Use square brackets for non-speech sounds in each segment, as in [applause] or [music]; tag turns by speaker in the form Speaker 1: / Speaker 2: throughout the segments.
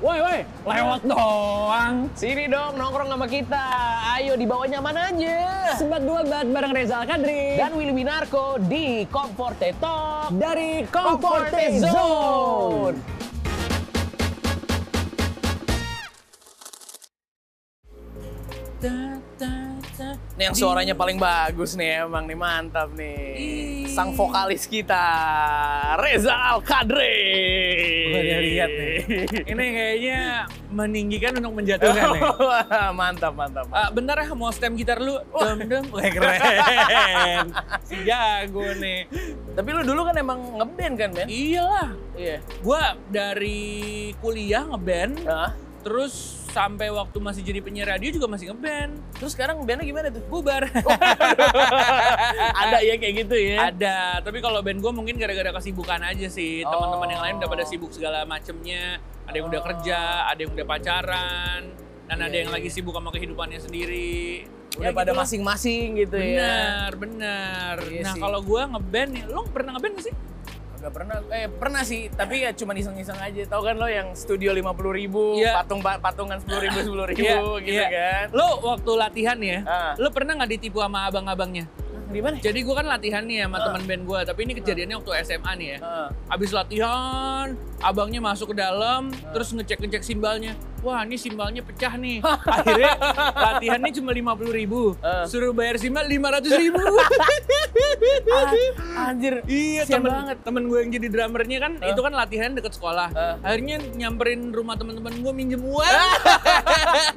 Speaker 1: woi lewat doang.
Speaker 2: Sini dong nongkrong sama kita. Ayo dibawanya mana aja.
Speaker 1: Sebat dua bat bareng Reza Kadri
Speaker 2: Dan Willy Winarko di Comforte Talk.
Speaker 1: dari
Speaker 2: Comforte Zone. Nih yang suaranya paling bagus nih emang nih mantap nih. Sang vokalis kita Reza Al Kadri.
Speaker 1: Gue udah lihat nih. Ini kayaknya meninggikan untuk
Speaker 2: [laughs]
Speaker 1: menjatuhkan nih.
Speaker 2: mantap mantap.
Speaker 1: Ah, bentar ya mau stem gitar lu. Dem dem. Wah keren. Si jago nih.
Speaker 2: Tapi lu dulu kan emang ngeband kan men?
Speaker 1: Iyalah.
Speaker 2: Iya.
Speaker 1: Gua dari kuliah ngeband,
Speaker 2: Hah?
Speaker 1: terus sampai waktu masih jadi penyiar radio juga masih ngeband.
Speaker 2: Terus sekarang bandnya gimana tuh?
Speaker 1: Bubar.
Speaker 2: [laughs] Ada ya kayak gitu ya.
Speaker 1: Ada, tapi kalau band gue mungkin gara-gara kesibukan aja sih.
Speaker 2: Oh.
Speaker 1: Teman-teman yang lain udah pada sibuk segala macemnya. Ada yang udah kerja, ada yang udah pacaran, dan ada yang lagi sibuk sama kehidupannya sendiri.
Speaker 2: Iya,
Speaker 1: Ya,
Speaker 2: Udah pada
Speaker 1: gitu lah.
Speaker 2: masing-masing gitu ya.
Speaker 1: Bener, bener.
Speaker 2: Iya
Speaker 1: nah
Speaker 2: sih.
Speaker 1: kalau gue ngeband nih, lo pernah ngeband gak sih?
Speaker 2: Gak pernah, eh pernah sih, tapi ya cuma iseng-iseng aja. Tau kan lo yang studio 50 ribu,
Speaker 1: Iya.
Speaker 2: patung pa- patungan 10
Speaker 1: [laughs]
Speaker 2: ribu, 10 ribu
Speaker 1: Iya,
Speaker 2: gitu
Speaker 1: iya.
Speaker 2: kan.
Speaker 1: Lo waktu latihan ya,
Speaker 2: Ah.
Speaker 1: lo pernah nggak ditipu sama abang-abangnya?
Speaker 2: Di mana?
Speaker 1: Jadi gue kan latihan nih
Speaker 2: Ah.
Speaker 1: sama teman band gue, tapi ini kejadiannya waktu SMA nih ya. [laughs] Abis latihan, abangnya masuk ke dalam, terus ngecek-ngecek simbalnya. Wah, ini simbalnya pecah [laughs] nih. Akhirnya latihannya cuma lima puluh ribu.
Speaker 2: Eh.
Speaker 1: Suruh bayar simbal lima ratus ribu.
Speaker 2: Ah, anjir,
Speaker 1: [laughs] iya,
Speaker 2: Sian
Speaker 1: temen,
Speaker 2: banget.
Speaker 1: temen gue yang jadi drummernya kan, itu kan latihan deket sekolah.
Speaker 2: Eh.
Speaker 1: Akhirnya nyamperin rumah teman-teman gue minjem uang. [laughs]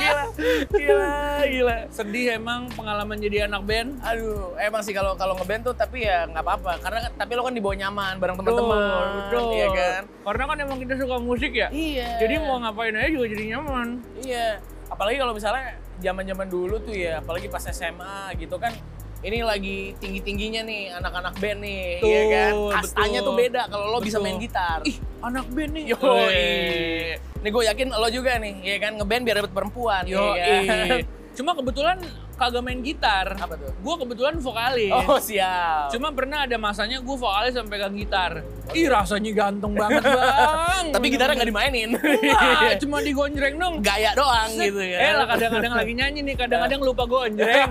Speaker 2: Gila, gila, gila.
Speaker 1: Sedih emang pengalaman jadi anak band.
Speaker 2: Aduh, emang sih kalau kalau ngeband tuh tapi ya nggak apa-apa karena kan- tapi lo kan dibawa nyaman bareng teman-teman,
Speaker 1: Betul,
Speaker 2: iya
Speaker 1: betul.
Speaker 2: kan?
Speaker 1: Karena kan emang kita suka musik ya.
Speaker 2: Iya.
Speaker 1: Jadi mau ngapain aja juga jadi nyaman.
Speaker 2: Iya, apalagi kalau misalnya zaman-zaman dulu tuh ya, apalagi pas SMA gitu kan, ini lagi tinggi-tingginya nih anak-anak band nih,
Speaker 1: Betul,
Speaker 2: iya kan? Kastanya
Speaker 1: betul.
Speaker 2: tuh beda kalau lo bisa
Speaker 1: Betul.
Speaker 2: main gitar.
Speaker 1: Ih, anak band nih.
Speaker 2: Yoi. Nih gue yakin lo juga nih, iya kan ngeband biar dapet perempuan. iya
Speaker 1: Yo,
Speaker 2: kan?
Speaker 1: Cuma kebetulan kagak main gitar.
Speaker 2: Apa tuh?
Speaker 1: Gue kebetulan vokalis.
Speaker 2: Oh
Speaker 1: Iya.
Speaker 2: siap. [laughs]
Speaker 1: Cuma pernah ada masanya gue vokalis sampai pegang gitar. Ih rasanya ganteng banget
Speaker 2: [laughs]
Speaker 1: bang.
Speaker 2: Tapi gitarnya nggak dimainin. [laughs]
Speaker 1: Wah, cuma digonjreng dong.
Speaker 2: Gaya doang
Speaker 1: Set.
Speaker 2: Iya. gitu ya. Iya.
Speaker 1: Eh lah kadang-kadang lagi nyanyi nih, kadang-kadang lupa gonjreng.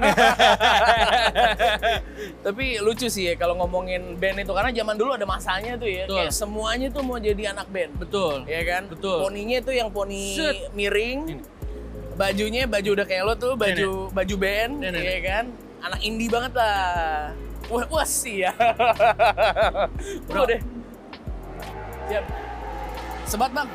Speaker 2: Tapi lucu sih ya kalau ngomongin band itu karena zaman dulu ada masanya tuh ya,
Speaker 1: Betul.
Speaker 2: kayak semuanya tuh mau jadi anak band.
Speaker 1: Betul.
Speaker 2: Iya kan?
Speaker 1: Betul.
Speaker 2: Poninya itu yang poni
Speaker 1: Set.
Speaker 2: miring. Bajunya baju udah kayak lo tuh, baju baju band,
Speaker 1: Nih, nih,
Speaker 2: iya kan? Anak indie banget lah. Wah, wah
Speaker 1: [laughs]
Speaker 2: sih ya. Bro deh. Siap. Sebat, Bang.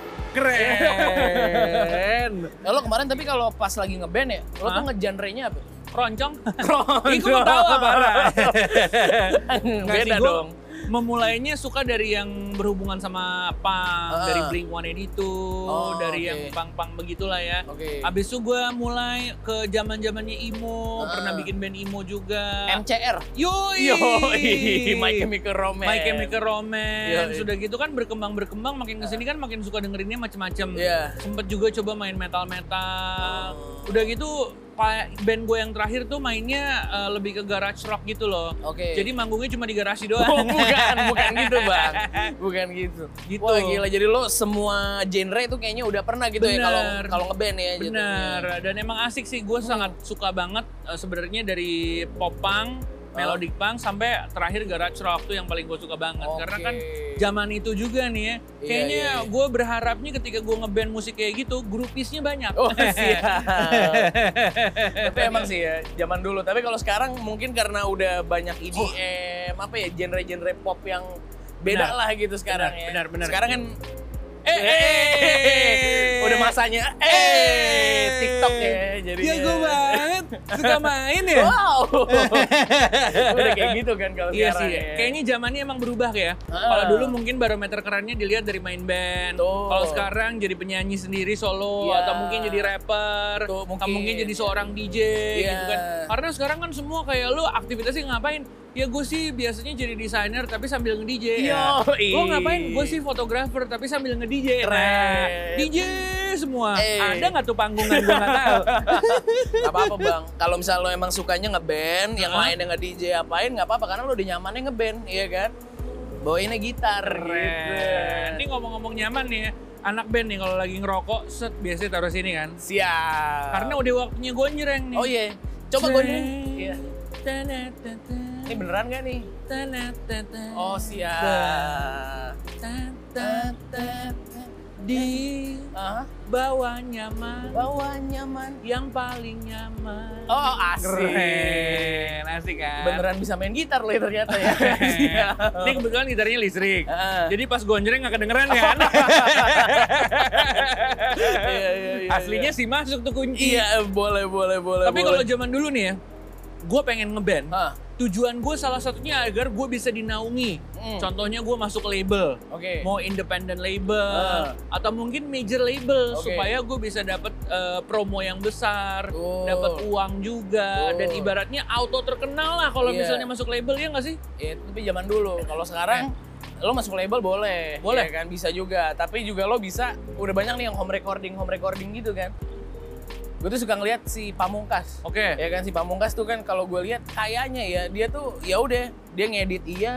Speaker 1: Keren.
Speaker 2: Ya, lo kemarin tapi kalau pas lagi ngeband ya, lo
Speaker 1: Hah?
Speaker 2: tuh ngegenrenya apa?
Speaker 1: Roncong.
Speaker 2: [laughs] Roncong.
Speaker 1: Ih, gua tahu apa Ra? [laughs] Nggak sih,
Speaker 2: Beda
Speaker 1: gua
Speaker 2: dong.
Speaker 1: Memulainya suka dari yang berhubungan sama pang,
Speaker 2: Ah.
Speaker 1: dari Blink One itu,
Speaker 2: Oh,
Speaker 1: dari
Speaker 2: oke.
Speaker 1: yang pang-pang begitulah ya.
Speaker 2: Oke.
Speaker 1: Abis itu gue mulai ke zaman zamannya emo,
Speaker 2: Ah.
Speaker 1: pernah bikin band emo juga.
Speaker 2: MCR.
Speaker 1: Yoi,
Speaker 2: Yoi, [laughs] My Chemical Romance.
Speaker 1: My Chemical Romance.
Speaker 2: Yoi.
Speaker 1: Sudah gitu kan berkembang berkembang, makin kesini kan makin suka dengerinnya macem-macem.
Speaker 2: Iya.
Speaker 1: Sempet juga coba main metal metal.
Speaker 2: Oh.
Speaker 1: Udah gitu pa- band gue yang terakhir tuh mainnya eh, lebih ke garage rock gitu loh.
Speaker 2: Oke.
Speaker 1: Jadi manggungnya cuma di garasi
Speaker 2: [laughs] Oh,
Speaker 1: doang. [laughs]
Speaker 2: bukan, bukan gitu bang, bukan gitu.
Speaker 1: Gitu.
Speaker 2: Wah gila, jadi lo semua genre itu kayaknya udah pernah gitu ya kalau
Speaker 1: Bener.
Speaker 2: kalau ngeband ya. jatuhnya.
Speaker 1: Bener, dan emang asik sih. Gue sangat suka banget eh, sebenarnya dari popang,
Speaker 2: Oh.
Speaker 1: melodic punk sampai terakhir garage rock tuh yang paling gue suka banget.
Speaker 2: Oke.
Speaker 1: Karena kan zaman itu juga nih ya, kayaknya
Speaker 2: iya, iya.
Speaker 1: gue berharapnya ketika gue ngeband musik kayak gitu, grupisnya banyak.
Speaker 2: [laughs]
Speaker 1: [laughs]
Speaker 2: Oh siap. Tapi emang sih ya zaman dulu. Tapi kalau sekarang mungkin karena udah banyak
Speaker 1: Oh.
Speaker 2: EDM, apa ya genre-genre pop yang
Speaker 1: Benar.
Speaker 2: beda lah gitu sekarang
Speaker 1: Benar,
Speaker 2: ya.
Speaker 1: benar, benar.
Speaker 2: Sekarang kan
Speaker 1: Eh, eh, eh.
Speaker 2: [laughs] udah masanya eh TikTok ya jadi
Speaker 1: Ya gue banget suka main ya.
Speaker 2: Wow. [laughs] Udah kayak gitu kan kalau
Speaker 1: Iya
Speaker 2: sekarang
Speaker 1: sih,
Speaker 2: ya.
Speaker 1: kayaknya zamannya emang berubah ya.
Speaker 2: Ah.
Speaker 1: Kalau dulu mungkin barometer kerennya dilihat dari main band.
Speaker 2: Betul.
Speaker 1: Kalau sekarang jadi penyanyi sendiri solo
Speaker 2: Iya.
Speaker 1: atau mungkin jadi rapper, atau
Speaker 2: Tuh,
Speaker 1: mungkin
Speaker 2: mungkin.
Speaker 1: jadi seorang DJ
Speaker 2: Iya.
Speaker 1: gitu kan. Karena sekarang kan semua kayak lu aktivitasnya ngapain? Ya gue sih biasanya jadi desainer tapi sambil nge-DJ.
Speaker 2: Iya.
Speaker 1: ya.
Speaker 2: Yoi.
Speaker 1: Gue ngapain? Gue sih fotografer tapi sambil nge-DJ.
Speaker 2: Keren.
Speaker 1: Nah, DJ semua.
Speaker 2: Eh.
Speaker 1: Ada nggak tuh panggungan gue nggak tahu.
Speaker 2: [laughs] Gak apa-apa bang, kalau misalnya lo emang sukanya ngeband, yang
Speaker 1: Hah?
Speaker 2: lain yang nge-DJ apain gak apa-apa karena lo udah nyamannya ngeband, iya kan? Bawainnya gitar
Speaker 1: Keren. Ini
Speaker 2: gitu.
Speaker 1: ngomong-ngomong nyaman nih ya. anak band nih kalau lagi ngerokok set biasanya taruh sini kan.
Speaker 2: Siap.
Speaker 1: Karena udah waktunya gonjreng nih.
Speaker 2: Oh iya. Coba gue nih. Iya. Ini
Speaker 1: Ini
Speaker 2: beneran gak nih? Oh siap.
Speaker 1: Di
Speaker 2: Ah,
Speaker 1: bawah nyaman,
Speaker 2: bawa nyaman.
Speaker 1: yang paling nyaman.
Speaker 2: Oh asik.
Speaker 1: keren, asik kan?
Speaker 2: Beneran bisa main gitar loh ya ternyata
Speaker 1: [laughs]
Speaker 2: ya. Siap.
Speaker 1: Iya. Ini kebetulan gitarnya listrik.
Speaker 2: Ah.
Speaker 1: Jadi pas gonjreng nggak kedengeran
Speaker 2: [laughs]
Speaker 1: kan?
Speaker 2: Iya, iya, iya,
Speaker 1: Aslinya sih masuk tuh kunci.
Speaker 2: Iya, boleh, boleh, boleh.
Speaker 1: Tapi kalau
Speaker 2: boleh.
Speaker 1: zaman dulu nih ya, gue pengen ngeband.
Speaker 2: Hah,
Speaker 1: Tujuan gue salah satunya agar gue bisa dinaungi.
Speaker 2: Mm.
Speaker 1: Contohnya gue masuk label.
Speaker 2: oke.
Speaker 1: Mau independent label
Speaker 2: Ah.
Speaker 1: atau mungkin major label
Speaker 2: Oke. Oh.
Speaker 1: supaya gue bisa dapat eh, promo yang besar,
Speaker 2: Betul.
Speaker 1: dapat uang juga
Speaker 2: Betul.
Speaker 1: dan ibaratnya auto terkenal lah kalau
Speaker 2: Oh. Iya.
Speaker 1: misalnya masuk label ya nggak sih?
Speaker 2: Ya, tapi zaman dulu. Kalau sekarang lo masuk label
Speaker 1: Ya.
Speaker 2: boleh,
Speaker 1: Boleh.
Speaker 2: ya kan bisa juga. Tapi juga lo bisa udah banyak nih yang home recording, home recording gitu kan. Gue tuh suka ngeliat si Pamungkas.
Speaker 1: Oke.
Speaker 2: Ya kan si Pamungkas tuh kan kalau gue lihat kayaknya ya dia tuh ya udah dia ngedit iya,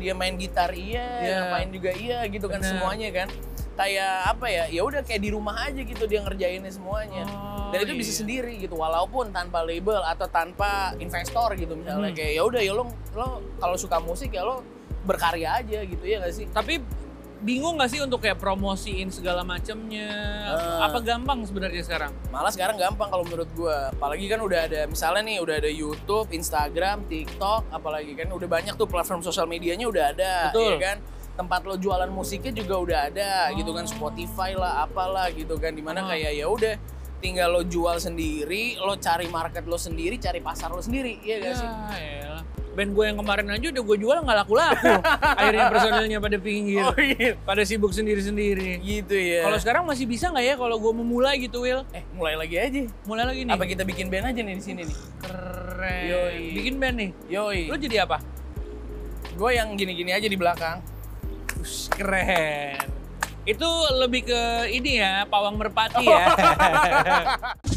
Speaker 2: dia main gitar iya,
Speaker 1: Iya.
Speaker 2: ngapain juga iya gitu kan
Speaker 1: Bener.
Speaker 2: semuanya kan. Kayak apa ya? Ya udah kayak di rumah aja gitu dia ngerjainnya semuanya.
Speaker 1: Oh,
Speaker 2: Dan itu bisa
Speaker 1: iya.
Speaker 2: sendiri gitu walaupun tanpa label atau tanpa investor gitu
Speaker 1: Mhm.
Speaker 2: misalnya kayak ya udah ya lo lo kalau suka musik ya lo berkarya aja gitu ya gak sih?
Speaker 1: Tapi bingung nggak sih untuk kayak promosiin segala macamnya?
Speaker 2: Ah.
Speaker 1: Apa gampang sebenarnya sekarang?
Speaker 2: Malah sekarang gampang kalau menurut gua. Apalagi kan udah ada misalnya nih udah ada YouTube, Instagram, TikTok, apalagi kan udah banyak tuh platform sosial medianya udah ada,
Speaker 1: Betul.
Speaker 2: ya kan? Tempat lo jualan musiknya juga udah ada gitu kan
Speaker 1: Oh.
Speaker 2: Spotify lah apalah gitu kan
Speaker 1: Oh.
Speaker 2: dimana kayak ya udah tinggal lo jual sendiri, lo cari market lo sendiri, cari pasar lo sendiri, iya gak sih?
Speaker 1: Ya, elah. Band gue yang kemarin aja udah gue jual nggak
Speaker 2: [laughs]
Speaker 1: laku-laku. Akhirnya personilnya pada pinggir,
Speaker 2: Oh, iya.
Speaker 1: pada sibuk sendiri-sendiri.
Speaker 2: Gitu ya.
Speaker 1: Kalau sekarang masih bisa nggak ya kalau gue memulai gitu Will?
Speaker 2: Eh, mulai lagi aja.
Speaker 1: Mulai lagi nih.
Speaker 2: Apa kita bikin band aja nih di sini
Speaker 1: [laughs]
Speaker 2: nih?
Speaker 1: Keren.
Speaker 2: Yoi.
Speaker 1: Bikin band nih.
Speaker 2: Yoi.
Speaker 1: Lu jadi apa?
Speaker 2: Gue yang gini-gini aja di belakang.
Speaker 1: Ush,
Speaker 2: Oh. [laughs]
Speaker 1: keren. Itu lebih ke ini ya, pawang merpati ya.